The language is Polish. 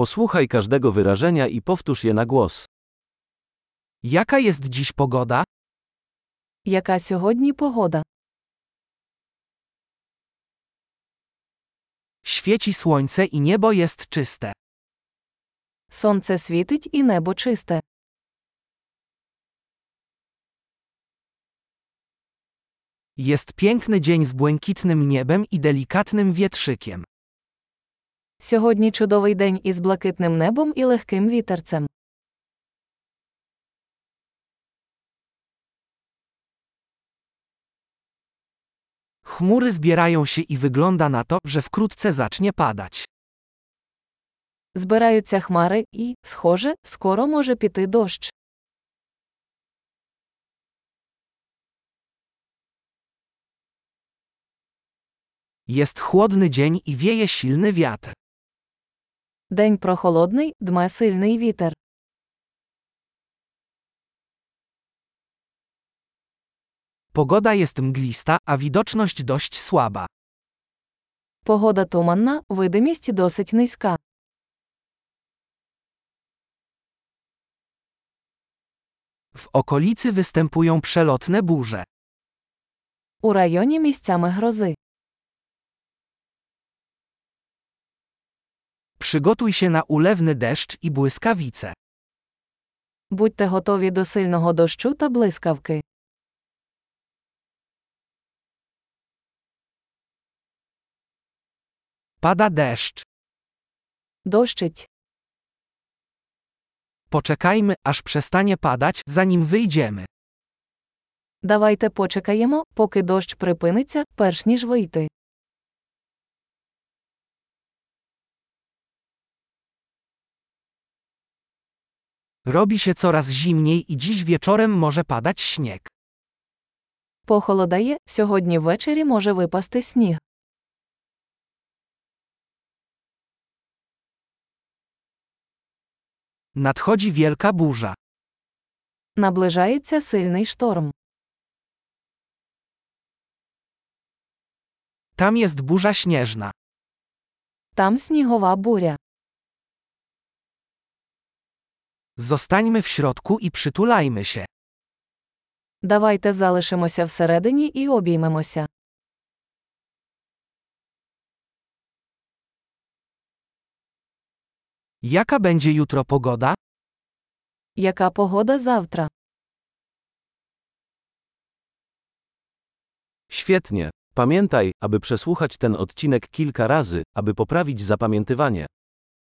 Posłuchaj każdego wyrażenia i powtórz je na głos. Jaka jest dziś pogoda? Яка сьогодні погода? Świeci słońce i niebo jest czyste. Сонце світить і небо чисте. Jest piękny dzień z błękitnym niebem i delikatnym wietrzykiem. Сьогодні чудовий день із блакитним небом і легким вітерцем. Chmury zbierają się i wygląda na to, że wkrótce zacznie padać. Збираються хмари і, схоже, скоро може піти дощ. Jest chłodny dzień i wieje silny wiatr. День прохолодний, дме сильний вітер. Pogoda jest mglista, a widoczność dość słaba. Погода туманна, видимість досить низька. W okolicy występują przelotne burze. У районі місцями грози. Przygotuj się na ulewny deszcz i błyskawice. Будьте готові до сильного дощу та блискавки. Pada deszcz. Дощить. Poczekajmy, aż przestanie padać, zanim wyjdziemy. Давайте почекаємо, поки дощ припиниться, перш ніж вийти. Robi się coraz zimniej i dziś wieczorem może padać śnieg. Похолодає, сьогодні ввечері може випасти сніг. Nadchodzi wielka burza. Наближається сильний шторм. Tam jest burza śnieżna. Там снігова буря. Zostańmy w środku i przytulajmy się. Давайте залишимося всередині і обіймемося. Jaka będzie jutro pogoda? Яка погода завтра? Świetnie. Pamiętaj, aby przesłuchać ten odcinek kilka razy, aby poprawić zapamiętywanie.